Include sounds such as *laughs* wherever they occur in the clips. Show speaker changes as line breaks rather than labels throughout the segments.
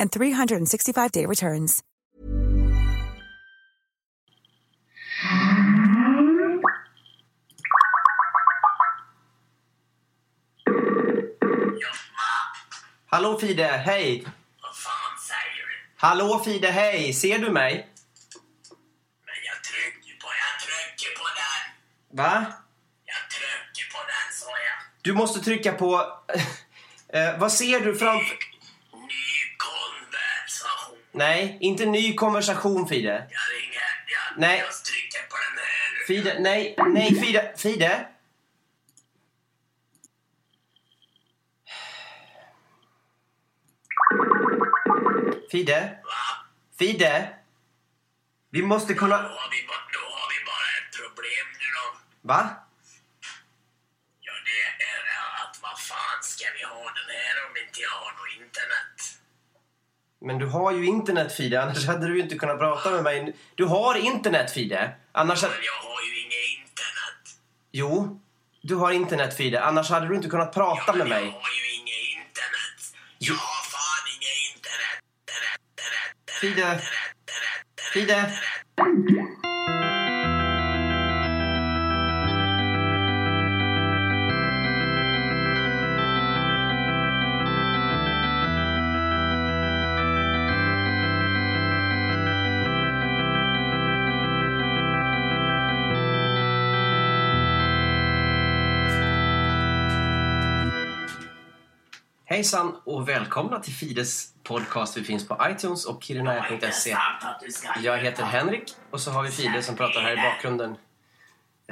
and 365-day returns.
Hallå Fide, hej!
Vad fan säger du?
Hallå Fide, hej! Ser du mig?
Men jag trycker på, jag trycker på den.
Va?
Jag trycker på den sa jag.
Du måste trycka på... *laughs* eh, vad ser du framför...
Ny konversation.
Nej, inte ny konversation Fide.
Jag ringer, jag,
Nej.
jag trycker på den här. nu.
Fide, nej, nej Fide, Fide! Fide? Fide? Vi måste
Då
kunna...
har, vi, ba- då har vi bara ett problem nu då.
Va?
Ja det är att vad fan ska vi ha den här om inte jag har något internet?
Men du har ju internet Fide, annars hade du ju inte kunnat prata med mig. Du har internet Fide! Annars... hade-
Men jag har ju inget internet.
Jo, du har internet Fide, annars hade du inte kunnat prata med
Men jag
mig.
har ju inget internet. Jag har fan inget internet. Internet, internet, internet,
Fide,
internet, internet, internet.
Fide! Hejsan och välkomna till Fides podcast. Vi finns på iTunes och kiruna.se.
Intressant att du ska
Jag heter Henrik och så har vi Fide som pratar här i bakgrunden.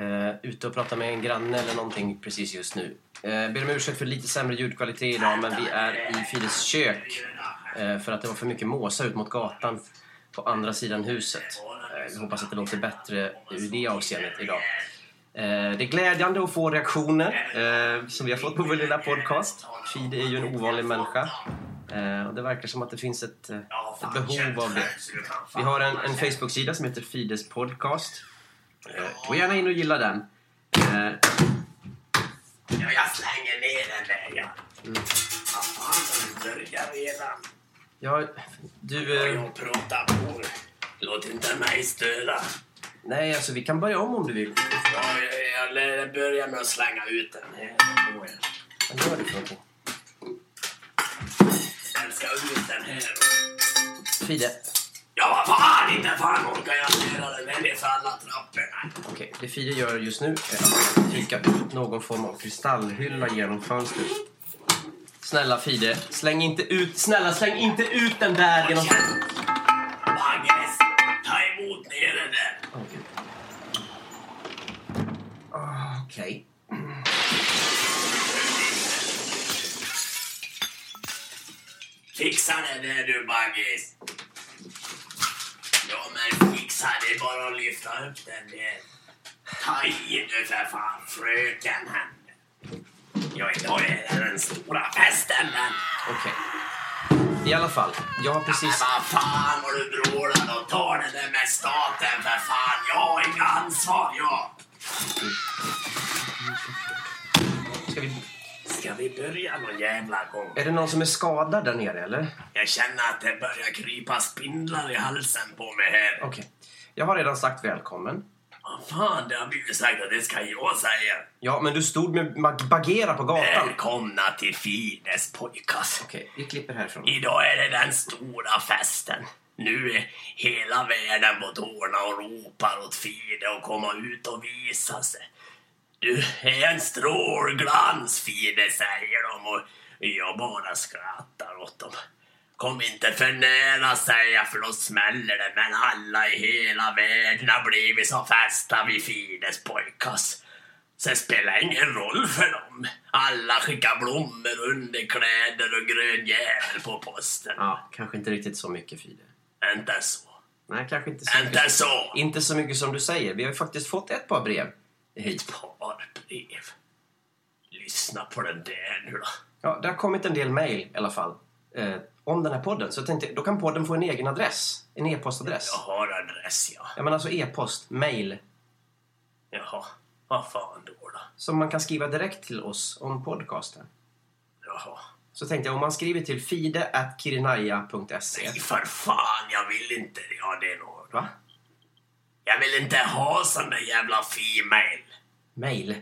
Uh, ute och pratar med en granne eller någonting precis just nu. Uh, ber om ursäkt för lite sämre ljudkvalitet idag men vi är i Fides kök eh, för att det var för mycket måsar ut mot gatan på andra sidan huset. Eh, vi hoppas att det låter bättre ur det avseendet idag. Eh, Det är glädjande att få reaktioner eh, som vi har fått på vår lilla podcast. Fide är ju en ovanlig människa. Eh, och det verkar som att det finns ett, eh, ett behov av det. Vi har en, en Facebook-sida som heter Fides podcast. Eh, Gå gärna in och gilla den. Eh,
Ja, jag slänger ner den där ja.
Mm.
Vad fan, den börjar redan.
Ja, du... eh,
Jag pratar på. Låt inte mig störa.
Nej, alltså vi kan börja om om du vill.
Ja, jag, jag, jag börjar med att slänga ut den här.
Vad gör du för någonting?
Den ska ut den här.
Fide.
Ja, vad fan, inte fan orkar jag störa den här nerför alla trapporna.
Okej, det Fide gör just nu är att trycka ut någon form av kristallhylla genom fönstret. Snälla Fide, släng inte ut... Snälla, släng inte ut den där genom...
Magnus, ta emot ner den där.
Åh, gud. Ah, Okej.
Fixa det där du Baggis! Ja men fixa det, bara att lyfta upp den där. Ta i nu för fan fröken här. Ja idag är det den stora festen men.
Okej. I alla fall, jag har
Men
precis...
vad fan vad du brålar och ta det där med staten för fan. Jag har inget ansvar jag.
Ska vi...
Ska vi börja någon jävla gång?
Är det någon som är skadad där nere eller?
Jag känner att det börjar krypa spindlar i halsen på mig här.
Okej. Jag har redan sagt välkommen.
Vad fan, det har blivit sagt att det ska jag säga.
Ja, men du stod med mag- Bagheera på gatan.
Välkomna till Fides pojkar.
Okej, vi klipper härifrån.
Idag är det den stora festen. Nu är hela världen på tårna och ropar åt Fide att komma ut och visa sig. Du är en strålglans, Fide, säger de och jag bara skrattar åt dem. Kom inte för nära, säger jag, för då smäller det. Men alla i hela världen har blivit så fästa vid Fides pojkas. Så det spelar ingen roll för dem. Alla skickar blommor, underkläder och grön jävel på posten.
Ja, kanske inte riktigt så mycket Fide.
Inte så.
Nej, kanske inte så
Inte
mycket.
så.
Inte så mycket som du säger. Vi har ju faktiskt fått ett par brev hit.
Par brev. Lyssna på den där nu då.
Ja, det har kommit en del mejl i alla fall eh, om den här podden. Så jag tänkte, då kan podden få en egen adress. En e-postadress.
Jag har adress, ja.
Ja, men alltså e-post, mejl,
Jaha, vad fan då då?
som man kan skriva direkt till oss om podcasten.
Jaha.
Så tänkte jag, om man skriver till fide.kirinaya.se.
Nej, för fan, jag vill inte ha det nog.
Va?
Jag vill inte ha sån där jävla female.
*laughs* Mejl.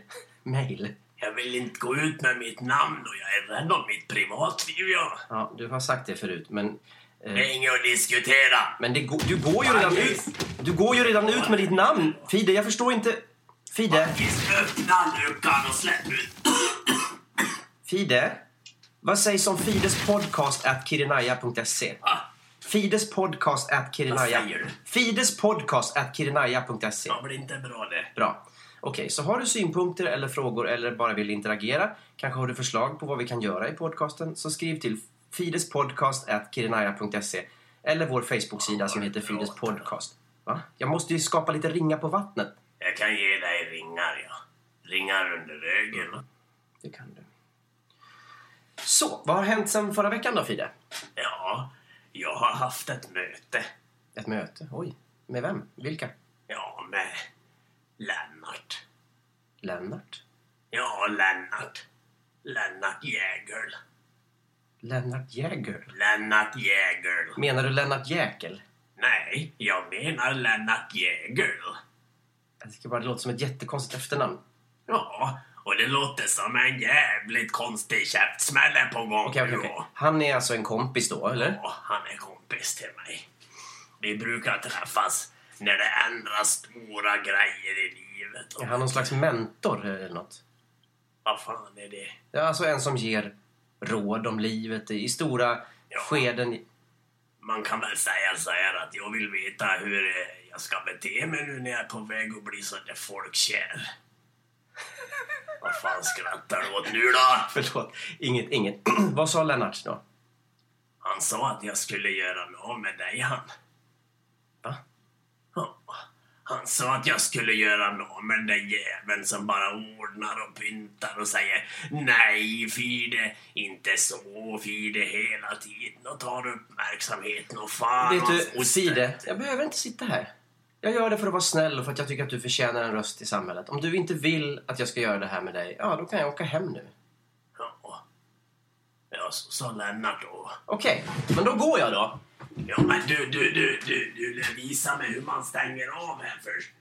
Mejl.
Jag vill inte gå ut med mitt namn och jag är rädd om mitt privatliv, ja.
Ja, du har sagt det förut, men... Eh,
Det är inget att diskutera.
men det går- du går ju redan ut... Du går ju redan ut med ditt namn! Fide, jag förstår inte... Fide?
Visst, öppna luckan och släpp ut.
Fide? Vad sägs om Fides podcast at kirinaya.se?
Va?
Fides podcast at kirinaya...
Vad säger du?
Fides podcast at kirinaya.se.
Det blir inte bra det.
Bra. Okej, så har du synpunkter eller frågor eller bara vill interagera, kanske har du förslag på vad vi kan göra i podcasten, så skriv till fidespodcast.kirinaya.se eller vår Facebook-sida som heter Fides podcast. Va? Jag måste ju skapa lite ringa på vattnet.
Jag kan ge dig ringar, ja. Ringar under ögonen.
Det kan du. Så, vad har hänt sen förra veckan då, Fide?
Ja, jag har haft ett möte.
Ett möte? Oj. Med vem? Vilka?
Ja, med Lennart.
Lennart?
Ja, Lennart. Lennart Jäger.
Lennart Jäger?
Lennart Jäger.
Menar du Lennart Jäkel?
Nej, jag menar Lennart Jäger.
Jag tycker bara det låter som ett jättekonstigt efternamn.
Ja, och det låter som en jävligt konstig käftsmäll är på gång.
Okej, okej, okej.
ja.
Han är alltså en kompis då, eller?
Ja, han är kompis till mig. Vi brukar träffas när det ändras stora grejer i livet. Och
Är han någon slags mentor eller något?
Vad fan är det?
Ja, alltså en som ger råd om livet i i stora
Ja.
skeden.
Man kan väl säga så här att jag vill veta hur eh, jag ska bete mig nu när jag är på väg att bli så där folkkär. Vad fan skrattar du åt nu då?
Förlåt, inget, inget. *clears throat* Vad sa Lennart då?
Han sa att jag skulle göra mig av med dig han.
Va?
Ja, Han sa att jag skulle göra mig av med den jäveln som bara ordnar och pyntar och säger Nej Fide, inte så Fide hela tiden och tar uppmärksamheten och fan
Vet
och
du,
foster."
Side, jag behöver inte sitta här. Jag gör det för att vara snäll och för att jag tycker att du förtjänar en röst i samhället. Om du inte vill att jag ska göra det här med dig, ja, då kan jag åka hem nu.
Ja. Ja, så sa Lennart då.
Okej, men då går jag då.
Ja, men du, du, du, du, du, visa mig hur man stänger av här först.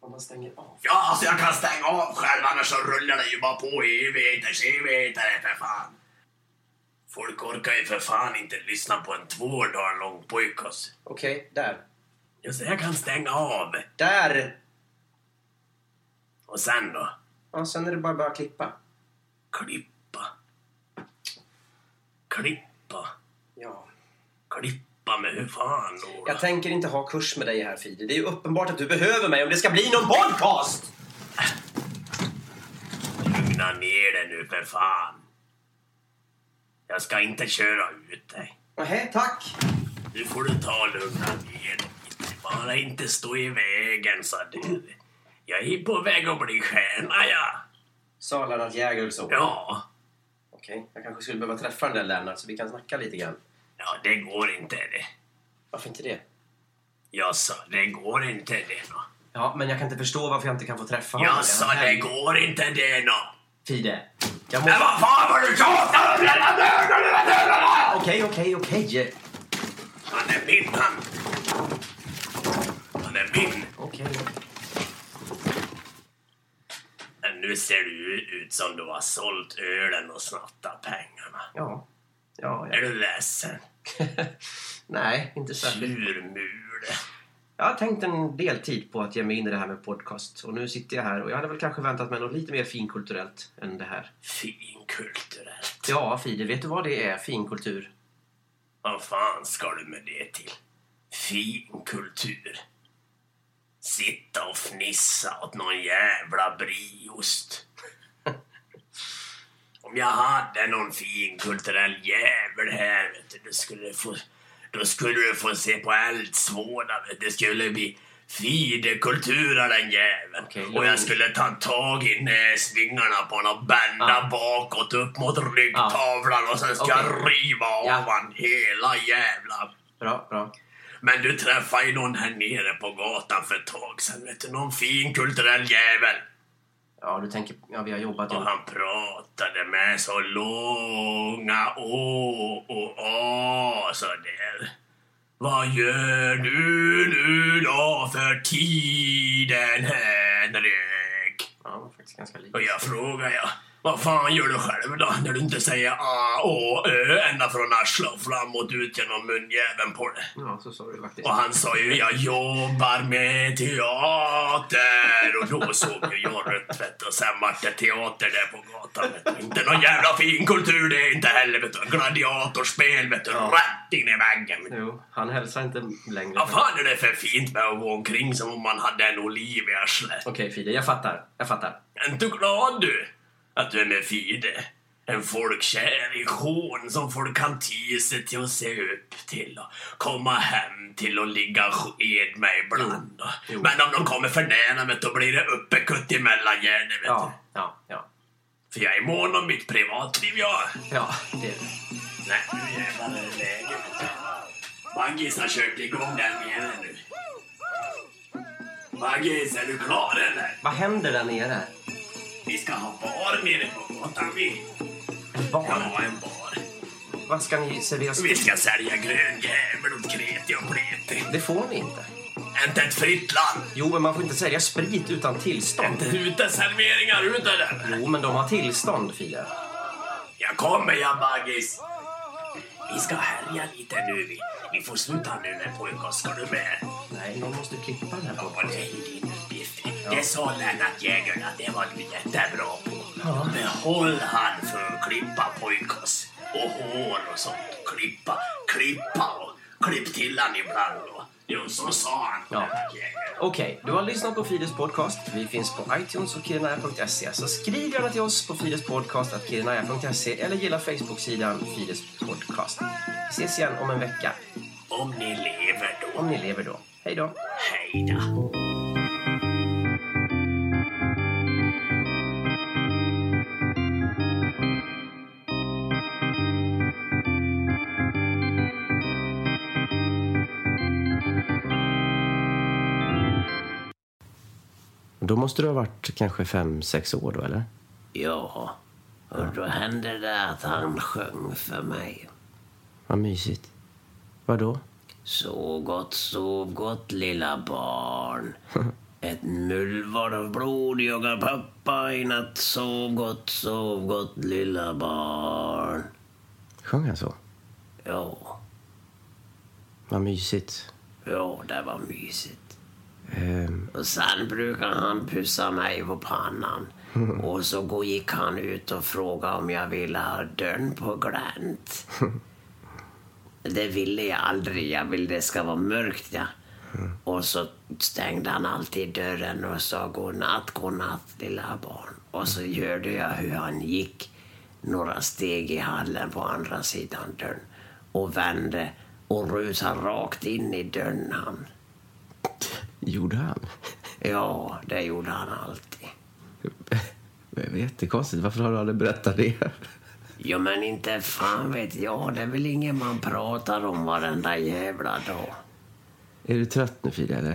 Om man stänger av.
Ja, alltså jag kan stänga av själv annars så rullar det ju bara på i evigheters evigheter för fan. Folk orkar ju för fan inte lyssna på en två dagar lång pojkas.
Okej, där.
Ja, så jag kan stänga av.
Där!
Och sen då?
Ja, sen är det bara att börja klippa.
Klippa. Klippa.
Ja.
Klippa med hur fan då? då?
Jag tänker inte ha kurs med dig här Fide. Det är ju uppenbart att du behöver mig om det ska bli någon podcast!
Lugna ner dig nu för fan. Jag ska inte köra ut dig.
Nähä, tack!
Nu får du ta och lugna ner dig lite. Bara inte stå i vägen sa du. Jag är på väg att bli stjärna ja.
Sa Lennart Jäger så.
Ja,
Okej, jag kanske skulle behöva träffa den där Lennart så vi kan snacka lite grann.
ja det går inte det.
Varför inte det?
Jag sa det går inte det nå.
Ja, men jag kan inte förstå varför jag inte kan få träffa honom.
Jag sa det går inte det nå.
Fide. Jag
Men
måste...
vad fan var du tjatar om? Lennart?
Okej, okej, okej.
Han är min han. Han är min.
Okej.
Men nu ser du ut som du har sålt ölen och snattat pengarna.
Ja. Ja,
Är
ja.
du ledsen?
*laughs* Nej, inte särskilt.
Tjurmule.
Jag har tänkt en del tid på att ge mig in i det här med podcast. Och nu sitter jag här och jag hade väl kanske väntat mig något lite mer finkulturellt än det här.
Finkulturellt.
Ja, Fide, vet du vad det är? Finkultur.
Vad fan ska du med det till? Finkultur. Sitta och fnissa åt någon jävla brieost. Om jag hade någon finkulturell jävel här, vet du, då skulle du få, då skulle du få se på eldsvådan. vet du. Det skulle bli fidekultur av den jäveln.
Okej,
och
lugn.
jag skulle ta tag i näsvingarna på honom och bända
Ah.
bakåt upp mot ryggtavlan och sen ska
Okej.
jag riva av
Ja.
han hela jävla...
Bra, bra.
Men du träffade ju någon här nere på gatan för ett tag sedan, vet du, någon fin kulturell jävel.
Ja, du tänker... Ja, vi har jobbat
Och
ihop.
han pratade med så långa å och a sådär. Vad gör du nu då för tiden, Henrik?
Ja, de var faktiskt ganska lik.
Och jag frågar jag, vad fan gör du själv då när du inte säger a, å, ö ända från arslet och framåt ut genom munjäveln på det?
Ja, så sa du faktiskt.
Och han sa ju jag jobbar med teater och då såg ju jag rött vet du. och sen vart det teater där på gatan. Vet du. Inte någon jävla fin kultur det är inte heller vet du. Gladiatorspel vet du. Rätt in i väggen. vet du.
Jo, han hälsar inte längre.
Vad fan är det för fint med att gå omkring som om man hade en oliv i arslet?
Okej, Fide, jag fattar. Jag fattar.
Är inte glad du att du är med Fide? En folkkär ikon som folk kan ty sig till och se upp till och komma hem till och ligga sked med ibland.
Jo.
Men om de kommer för nära vet du, då blir det uppekutt i mellangärdet vet
Ja, ja, ja.
du. För jag är mån om mitt privatliv jag.
Ja, det är det.
Nej, nu jävlar är det läge vet du. Baggis har kört igång den igen nu. Baggis, är du klar eller?
Vad händer där nere?
Vi ska ha bar nere på gatan vi.
En bar?
Ja, en bar.
Vad ska ni servera?
Vi ska sälja grön jävel åt kreti och pleti.
Det får ni inte.
Inte ett fritt land.
Jo, men man får inte sälja sprit utan tillstånd.
Inte uteserveringar ute där.
Jo, men de har tillstånd, Fide.
Jag kommer jag baggis. Vi ska härja lite nu vi. Vi får sluta nu med pojkar. Ska du med?
Nej, någon måste klippa den här
Ja,
podden.
det är ju din uppgift. Det sa Lennart Jägern att det var du jättebra på.
Ja.
Behåll han för att klippa pojkos och hår och sånt. Klippa, klippa och klipp till han ibland. Och, jo, så sa han.
Ja.
Lennart Jägern.
Okej, du har lyssnat på Fides podcast. Vi finns på iTunes och kirinaya.se. E. Så skriv gärna till oss på fidespodcast.kirinaya.se E eller gilla Facebook-sidan Fides podcast. Vi ses igen om en vecka,
Om ni lever då.
om ni lever då. Hej då!
Hej då.
Då måste du ha varit kanske fem, sex år då, eller?
Ja, och då hände det att han sjöng för mig.
Vad mysigt. Vadå?
Sov gott, sov gott lilla barn. Ett mullvar av blod jagar pappa i natt. Sov gott, sov gott lilla barn.
Sjöng han så?
Ja,
alltså. Vad mysigt.
ja, det var mysigt.
Ehm,
Och sen brukar han pussa mig på pannan. Och så gå- gick han ut och frågade om jag ville ha dörren på glänt. Det ville jag aldrig. Jag ville det ska vara mörkt. Ja. Och så stängde han alltid dörren och sa godnatt, godnatt lilla barn. Och så hörde jag hur han gick några steg i hallen på andra sidan dörren och vände och rusade rakt in i dörren han.
gjorde han?
Ja, det gjorde han alltid.
Det var Jättekonstigt. Varför har du aldrig berättat det? *laughs*
Ja, men inte fan vet jag. Det är väl inget man pratar om varenda jävla dag.
Är du trött nu, Frida? Eller?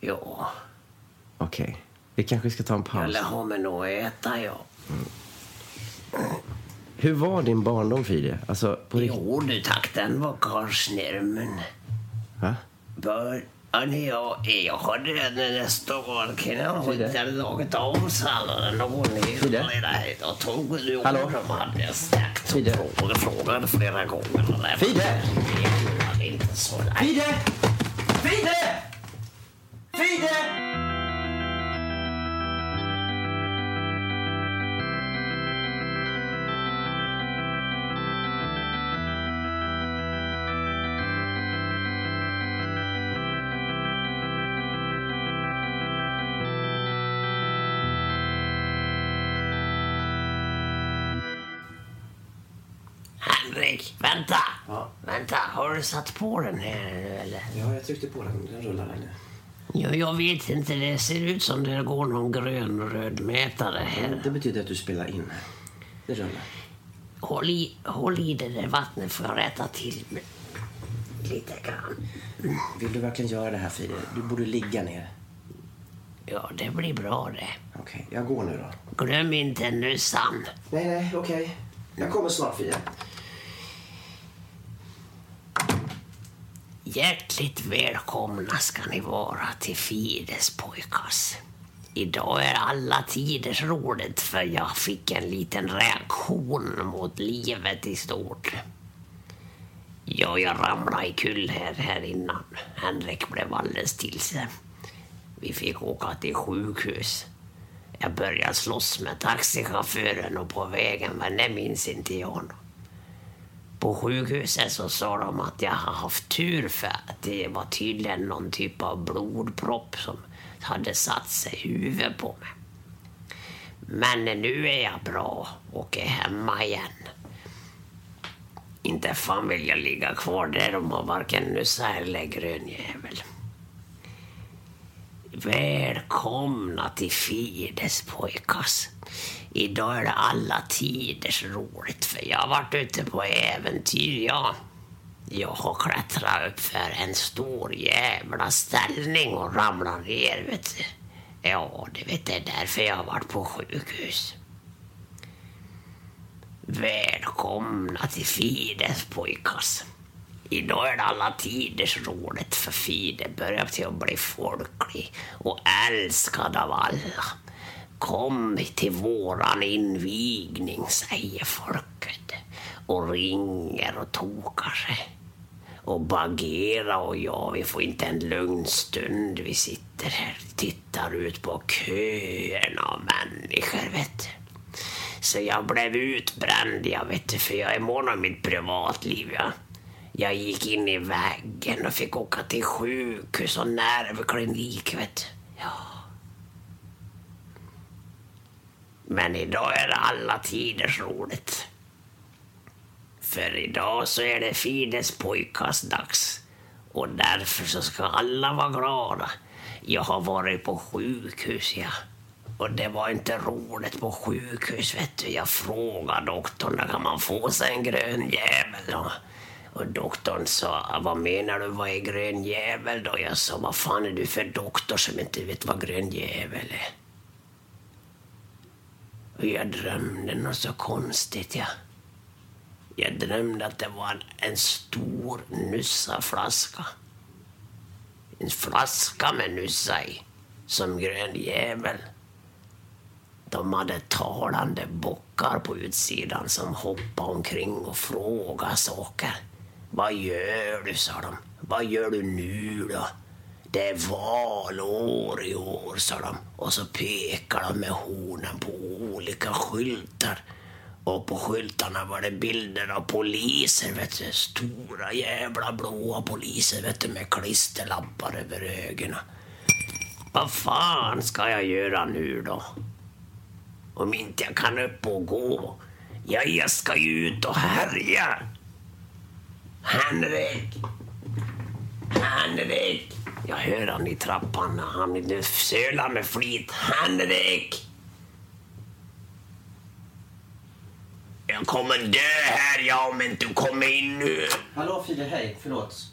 Ja,
Okej. Vi kanske ska ta en
jag
paus.
lär ha mig nog att äta ja.
Hur var din barndom, Fide? Alltså, på riktigt?
Jo du tack, den var karlsnärmen.
Va?
Bör... Ja, när jag, jag hade den nästa år kan jag ha
Frida?
inte lagat av salladen och gått ner
Frida?
flera Jag tog ju
Hallå?
de hade jag sagt och
Frida?
frågade, frågade flera gånger. och därför-
Frida?
Det var inte så lätt.
Fide! Fide! Fide!
Henrik, vänta! Vänta, har du satt på den här nu eller?
Ja, jag tryckte på den. Den rullar där nu.
Jag, jag vet inte, det ser ut som det går någon grön och röd mätare här.
Det betyder att du spelar in. Det rullar.
Håll i, håll i det där vattnet får jag rätta till mig lite grann.
Vill du verkligen göra det här, Fide? Du borde ligga ner.
Ja, det blir bra det.
Okej, jag går nu då.
Glöm inte nussan.
Nej, nej, okej. Jag kommer snart, Fide.
Hjärtligt välkomna ska ni vara till Fides pojkas. Idag är alla tiders roligt för jag fick en liten reaktion mot livet i stort. Ja, jag ramlade kul här, här innan. Henrik blev alldeles till sig. Vi fick åka till sjukhus. Jag började slåss med taxichauffören och på vägen, men det minns inte jag. Något. På sjukhuset så sa de att jag har haft tur för att det var tydligen någon typ av blodpropp som hade satt sig i huvudet på mig. Men nu är jag bra och är hemma igen. Inte fan vill jag ligga kvar där de har varken nussa eller grön jävel. Välkomna till Fides pojkas. Idag är det alla tiders roligt för jag har varit ute på äventyr jag. Jag har klättrat upp för en stor jävla ställning och ramlat ner vet du. Ja, det vet det är därför jag har varit på sjukhus. Välkomna till Fides pojkas. Idag är det alla tiders roligt för Fide börjar till att bli folklig och älskad av alla. Kom till våran invigning, säger folket och ringer och tokar sig. Och Bagheera och jag, vi får inte en lugn stund. Vi sitter här och tittar ut på köerna av människor, vet du. Så jag blev utbränd, jag vet du, för jag är mån om mitt privatliv. Ja. Jag gick in i väggen och fick åka till sjukhus och nervklinik, vet du. Ja. Men idag är det alla tiders roligt. För idag så är det Fides pojkas dags. Och därför så ska alla vara glada. Jag har varit på sjukhus, ja. Och det var inte roligt på sjukhus, vet du. Jag frågade doktorn, "Där kan man få sig en grön jävel? Och, och doktorn sa, vad menar du, vad är grön jävel då? Jag sa, vad fan är du för doktor som inte vet vad grön jävel är? Och jag drömde något så konstigt, ja. Jag drömde att det var en, en stor nussaflaska. En flaska med nussa i, som grön jävel. De hade talande bockar på utsidan som hoppade omkring och frågade saker. Vad gör du, sa de. Vad gör du nu då? Det är valår i år, sa de. Och så pekar de med hornen på olika skyltar. Och på skyltarna var det bilder av poliser, vet du. Stora jävla blåa poliser, vet du, med klisterlappar över ögonen. Vad fan ska jag göra nu då? Om inte jag kan upp och gå. Ja, jag ska ju ut och härja. Henrik! Henrik! Jag hör han i trappan. Han sölar med flit. Henrik!
Jag kommer dö här jag om inte du kommer in nu.
Hallå Fide, hej. Förlåt.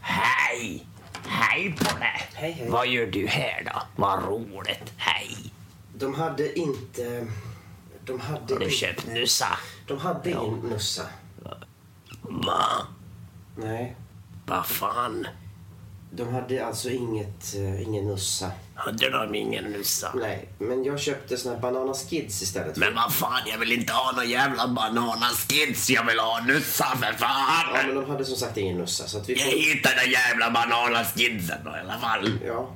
Hej! Hej på dig!
Hej, hej.
Vad gör du här då? Vad roligt. Hej!
De hade inte... De hade,
Har du köpt nussa?
de hade ingen nussa.
Va?
Nej.
Vad fan?
De hade alltså inget, eh, ingen nussa.
Hade de ingen nussa?
Nej, men jag köpte såna här Banana Skids istället.
Men vad fan, jag vill inte ha någon jävla bananaskids. Jag vill ha nussa för
Ja, men
fan!
de hade som sagt ingen nussa. Så att vi
Jag
får...
hittade den jävla bananaskidsen då, i alla fall.
Ja.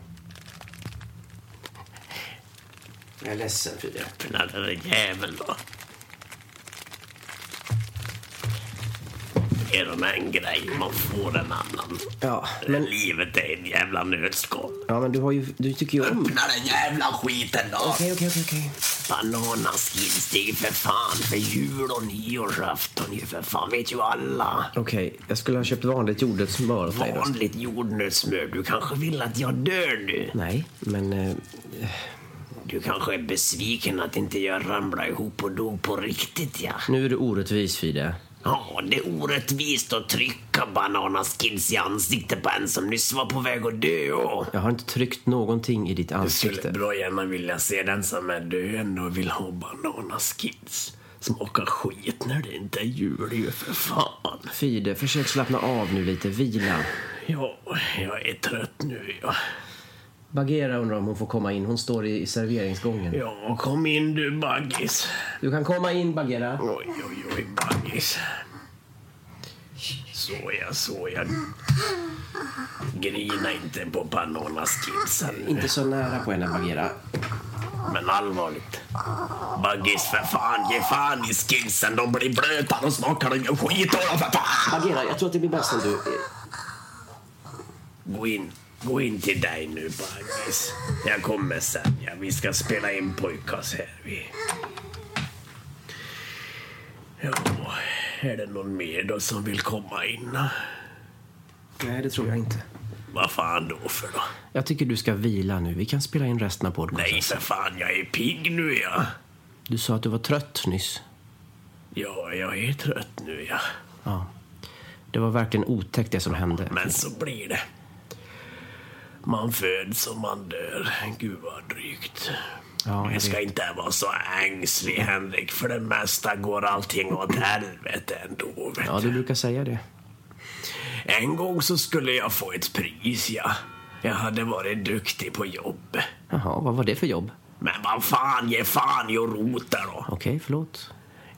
Jag är ledsen Fide.
Öppna den där jäveln då. Ge dem en grej, man får en annan.
Ja,
Men... Livet är en jävla nötskal.
ja, men du, har ju, du tycker ju om...
Öppna den jävla skiten då!
Okej, okej, okej, okej.
Bananaskins, det är ju för fan för jul och nyårsafton ju för fan, vet ju alla.
Okej, jag skulle ha köpt vanligt jordet smör åt dig då.
Vanligt jordnötssmör, du kanske vill att jag dör nu?
Nej, men... eh,
Du kanske är besviken att inte jag ramlade ihop och dog på riktigt ja.
Nu är du orättvis Fide.
Ja, det är orättvist att trycka bananaskins i ansiktet på en som nyss var på väg att dö. och-
Jag har inte tryckt någonting i ditt
Jag skulle
ansikte.
bra gärna vilja se den som är döende och vill ha bananaskins. Smakar skit när det inte är jul ju för fan.
Fide, försök slappna av nu lite. Vila.
Ja, jag är trött nu ja.
Bagheera undrar om hon får komma in. Hon står i i serveringsgången.
Ja, kom in du baggis.
Du kan komma in Bagheera.
Oj, oj, oj baggis. Såja, såja. Grina inte på bananaskinsen nu.
Inte så nära på henne Bagheera.
Men allvarligt. Baggis för fan, ge fan i skinsen. De blir blöta, de smakar ingen skit och de för fan.
Bagheera, jag tror att det blir bäst om du...
Gå in, gå in till dig nu Baggis. Jag kommer sen. Ja, vi ska spela in pojkas här. Vi. Ja, är det någon mer då som vill komma in?
Nej, det tror jag inte.
Vad fan då för då?
Jag tycker du ska vila nu. Vi kan spela in resten av podcasten.
Nej för fan, jag är pigg nu ja.
Du sa att du var trött nyss.
Ja, jag är trött nu ja.
Ja. Det var verkligen otäckt det som hände.
Men så blir det. Man föds och man dör. Gud vad drygt.
Ja, jag
jag ska
vet.
inte vara så ängslig Henrik. För det mesta går allting åt helvete ändå. Vet
Ja,
du.
du brukar säga det.
En gång så skulle jag få ett pris ja. Jag hade varit duktig på jobb.
Jaha, vad var det för jobb?
Men vad fan, ge fan jag rotar då.
Okej, förlåt.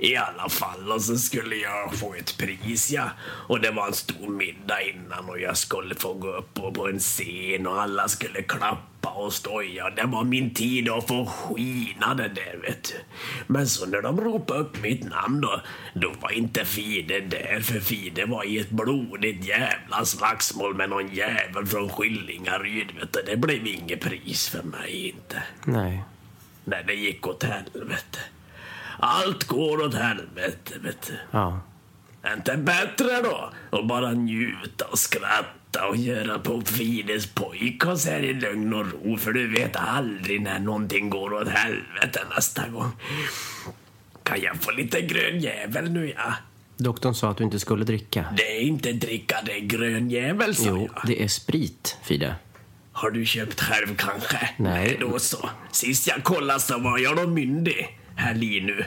I alla fall, och så skulle jag få ett pris ja. Och det var en stor middag innan och jag skulle få gå upp och på en scen och alla skulle klappa och stoja. Det var min tid att få skina det där vet du. Men så när de ropade upp mitt namn då, då var inte Fide där för Fide var i ett blodigt jävla slagsmål med någon jävel från Skillingaryd vet du. Det blev inget pris för mig inte.
Nej.
Nej, det gick åt helvete. Allt går åt helvete, vet du.
Ja.
Är inte bättre då att bara njuta och skratta och göra på Fides pojkas här i lugn och ro för du vet aldrig när någonting går åt helvete nästa gång. Kan jag få lite grön jävel nu ja?
Doktorn sa att du inte skulle dricka.
Det är inte dricka, det är grön jävel sa
Jo,
jag.
det är sprit, Fide.
Har du köpt själv kanske?
Nej.
Då så. Sist jag kollade så var jag då myndig. Här nu.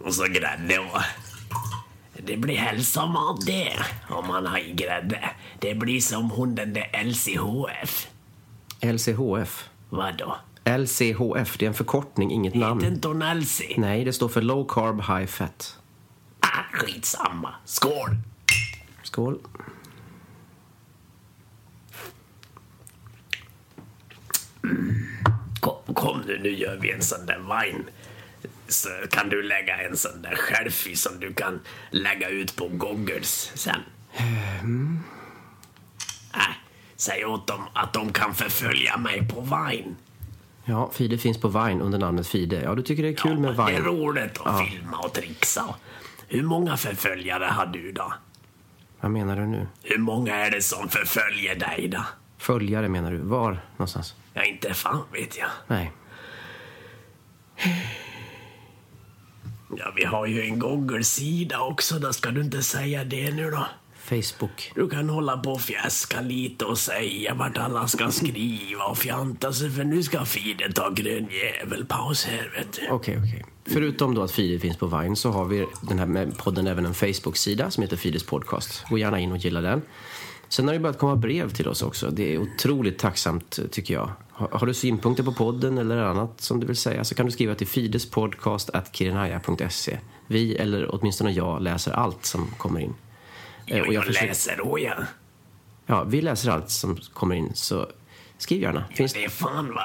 Och så grädde och... Det blir hälsam av det, om man har i grädde. Det blir som hon den där LCHF.
LCHF.
Vadå?
LCHF, det är en förkortning, inget
Heter
namn.
inte hon Elsie?
Nej, det står för Low Carb High Fat.
Ah, skitsamma. Skål!
Skål.
Kom, kom nu, nu gör vi en sån där vine. Så kan du lägga en sån där själv i som du kan lägga ut på goggles sen.
Hmm.
Äh, säg åt dem att de kan förfölja mig på vine.
Ja, Fide finns på Vine under namnet Fide. Ja, du tycker det är kul med
Ja, Det är
Vine.
roligt att filma och trixa. Hur många förföljare har du då?
Vad menar du nu?
Hur många är det som förföljer dig då?
Följare menar du? Var någonstans?
Ja, inte fan vet jag.
Nej.
Ja, vi har ju en Google-sida också, då ska du inte säga det nu då.
Facebook.
Du kan hålla på och fjäska lite och säga vart alla ska skriva och fjanta sig för nu ska feeden ta grön jävelpaus här vet du.
Okej, okej. Förutom då att Fidel finns på Vine så har vi den här med podden även en Facebook-sida som heter Fidels podcast. Gå gärna in och gilla den. Sen har det börjat komma brev till oss också. Det är otroligt tacksamt tycker jag. Har, har du synpunkter på podden eller annat som du vill säga så kan du skriva till fidespodcast.kirinaya.se. Vi, eller åtminstone jag, läser allt som kommer in. Eh,
Jo,
och jag
jag
försöker-
läser då ja.
Ja, vi läser allt som kommer in så skriv gärna. Finns
Det är fan va.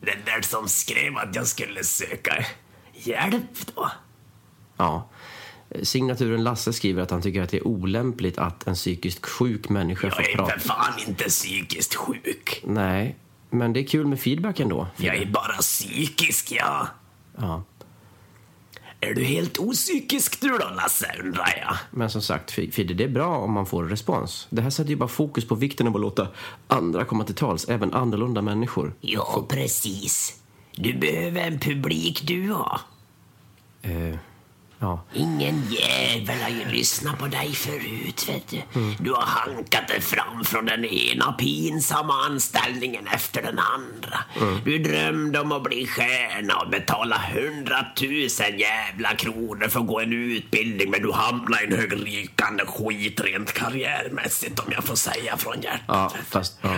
Den där som skrev att jag skulle söka hjälp då.
Ja. Signaturen Lasse skriver att han tycker att det är olämpligt att en psykiskt sjuk människa
Jag
får
är
prata.
för fan inte psykiskt sjuk.
Nej, men det är kul med feedback ändå.
Jag är bara psykisk ja.
Ja.
Är du helt opsykisk du då Lasse undrar jag.
Men som sagt, Fidde, det är bra om man får respons. Det här sätter ju bara fokus på vikten av att låta andra komma till tals, även annorlunda människor.
Ja, precis. Du behöver en publik du har.
Eh, ja.
Ingen jävel har ju lyssnat på dig förut, vet du. Du har hankat dig fram från den ena pinsamma anställningen efter den andra. Du drömde om att bli stjärna och betala hundratusen jävla kronor för att gå en utbildning, men du hamnade i en högrykande skit rent karriärmässigt, om jag får säga från hjärtat.
Ja,
vet du.
fast... Ja.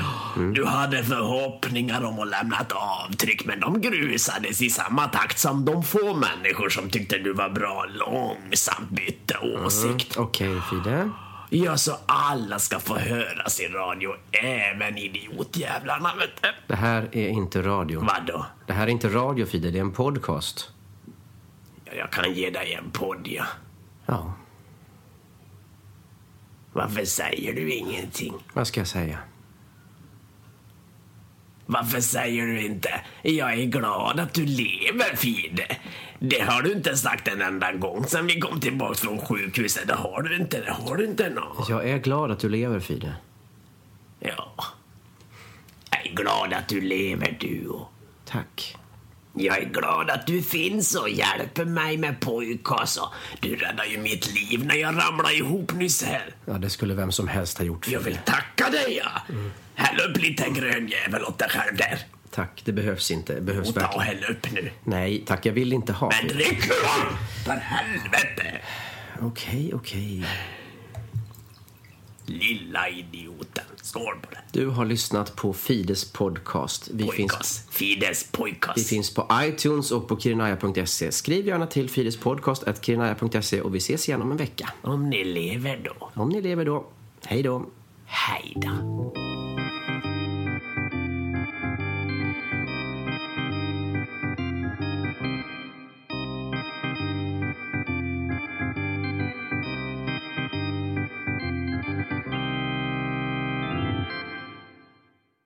Du hade förhoppningar om att lämna ett avtryck men de grusades i samma takt som de få människor som tyckte du var bra långsamt bytte åsikt.
Okej, Fidde.
Ja, så alla ska få höras i radio, även idiotjävlarna vet du.
Det här är inte radio.
Vadå?
Det här är inte radio, Fidde. Det är en podcast.
Ja, jag kan ge dig en podd ja.
Ja,
Varför säger du ingenting?
vad ska jag säga?
Varför säger du inte “Jag är glad att du lever, Fide”? Det har du inte sagt en enda gång sen vi kom tillbaka från sjukhuset. Det har du inte. Det har du inte nå.
Jag är glad att du lever, Fidde.
Ja. Jag är glad att du lever, du. och
Tack.
Jag är glad att du finns och hjälper mig med pojkas. och Du räddade ju mitt liv när jag ramlade ihop nyss här.
Ja, det skulle vem som helst ha gjort.
Jag vill tacka dig, ja. Häll upp lite grön jävel åt dig själv där.
Tack, det behövs inte. Det behövs
Och ta och
verkligen.
häll upp nu.
Nej, tack. Jag vill inte ha.
Men
Fidde.
drick nu då! För helvete!
Okej, okej.
Lilla idioten. Skål på det.
Du har lyssnat på Fides podcast. Vi finns,
Pojkas. Fides pojkas.
vi finns på iTunes och på kirinaya.se. Skriv gärna till Fides podcast at kirinaya.se och vi ses igen om en vecka.
Om ni lever då.
Om ni lever då. Hej då.
Hej då.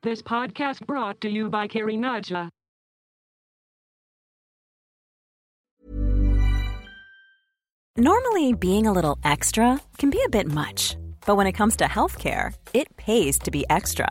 This podcast brought to you by Kirinaja.
Normally, being a little extra can be a bit much, but when it comes to healthcare, it pays to be extra.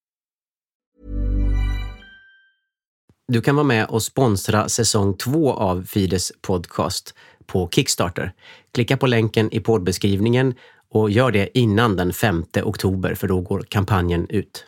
Du kan vara med och sponsra säsong två av Fides podcast på Kickstarter. Klicka på länken i poddbeskrivningen och gör det innan den 5 oktober för då går kampanjen ut.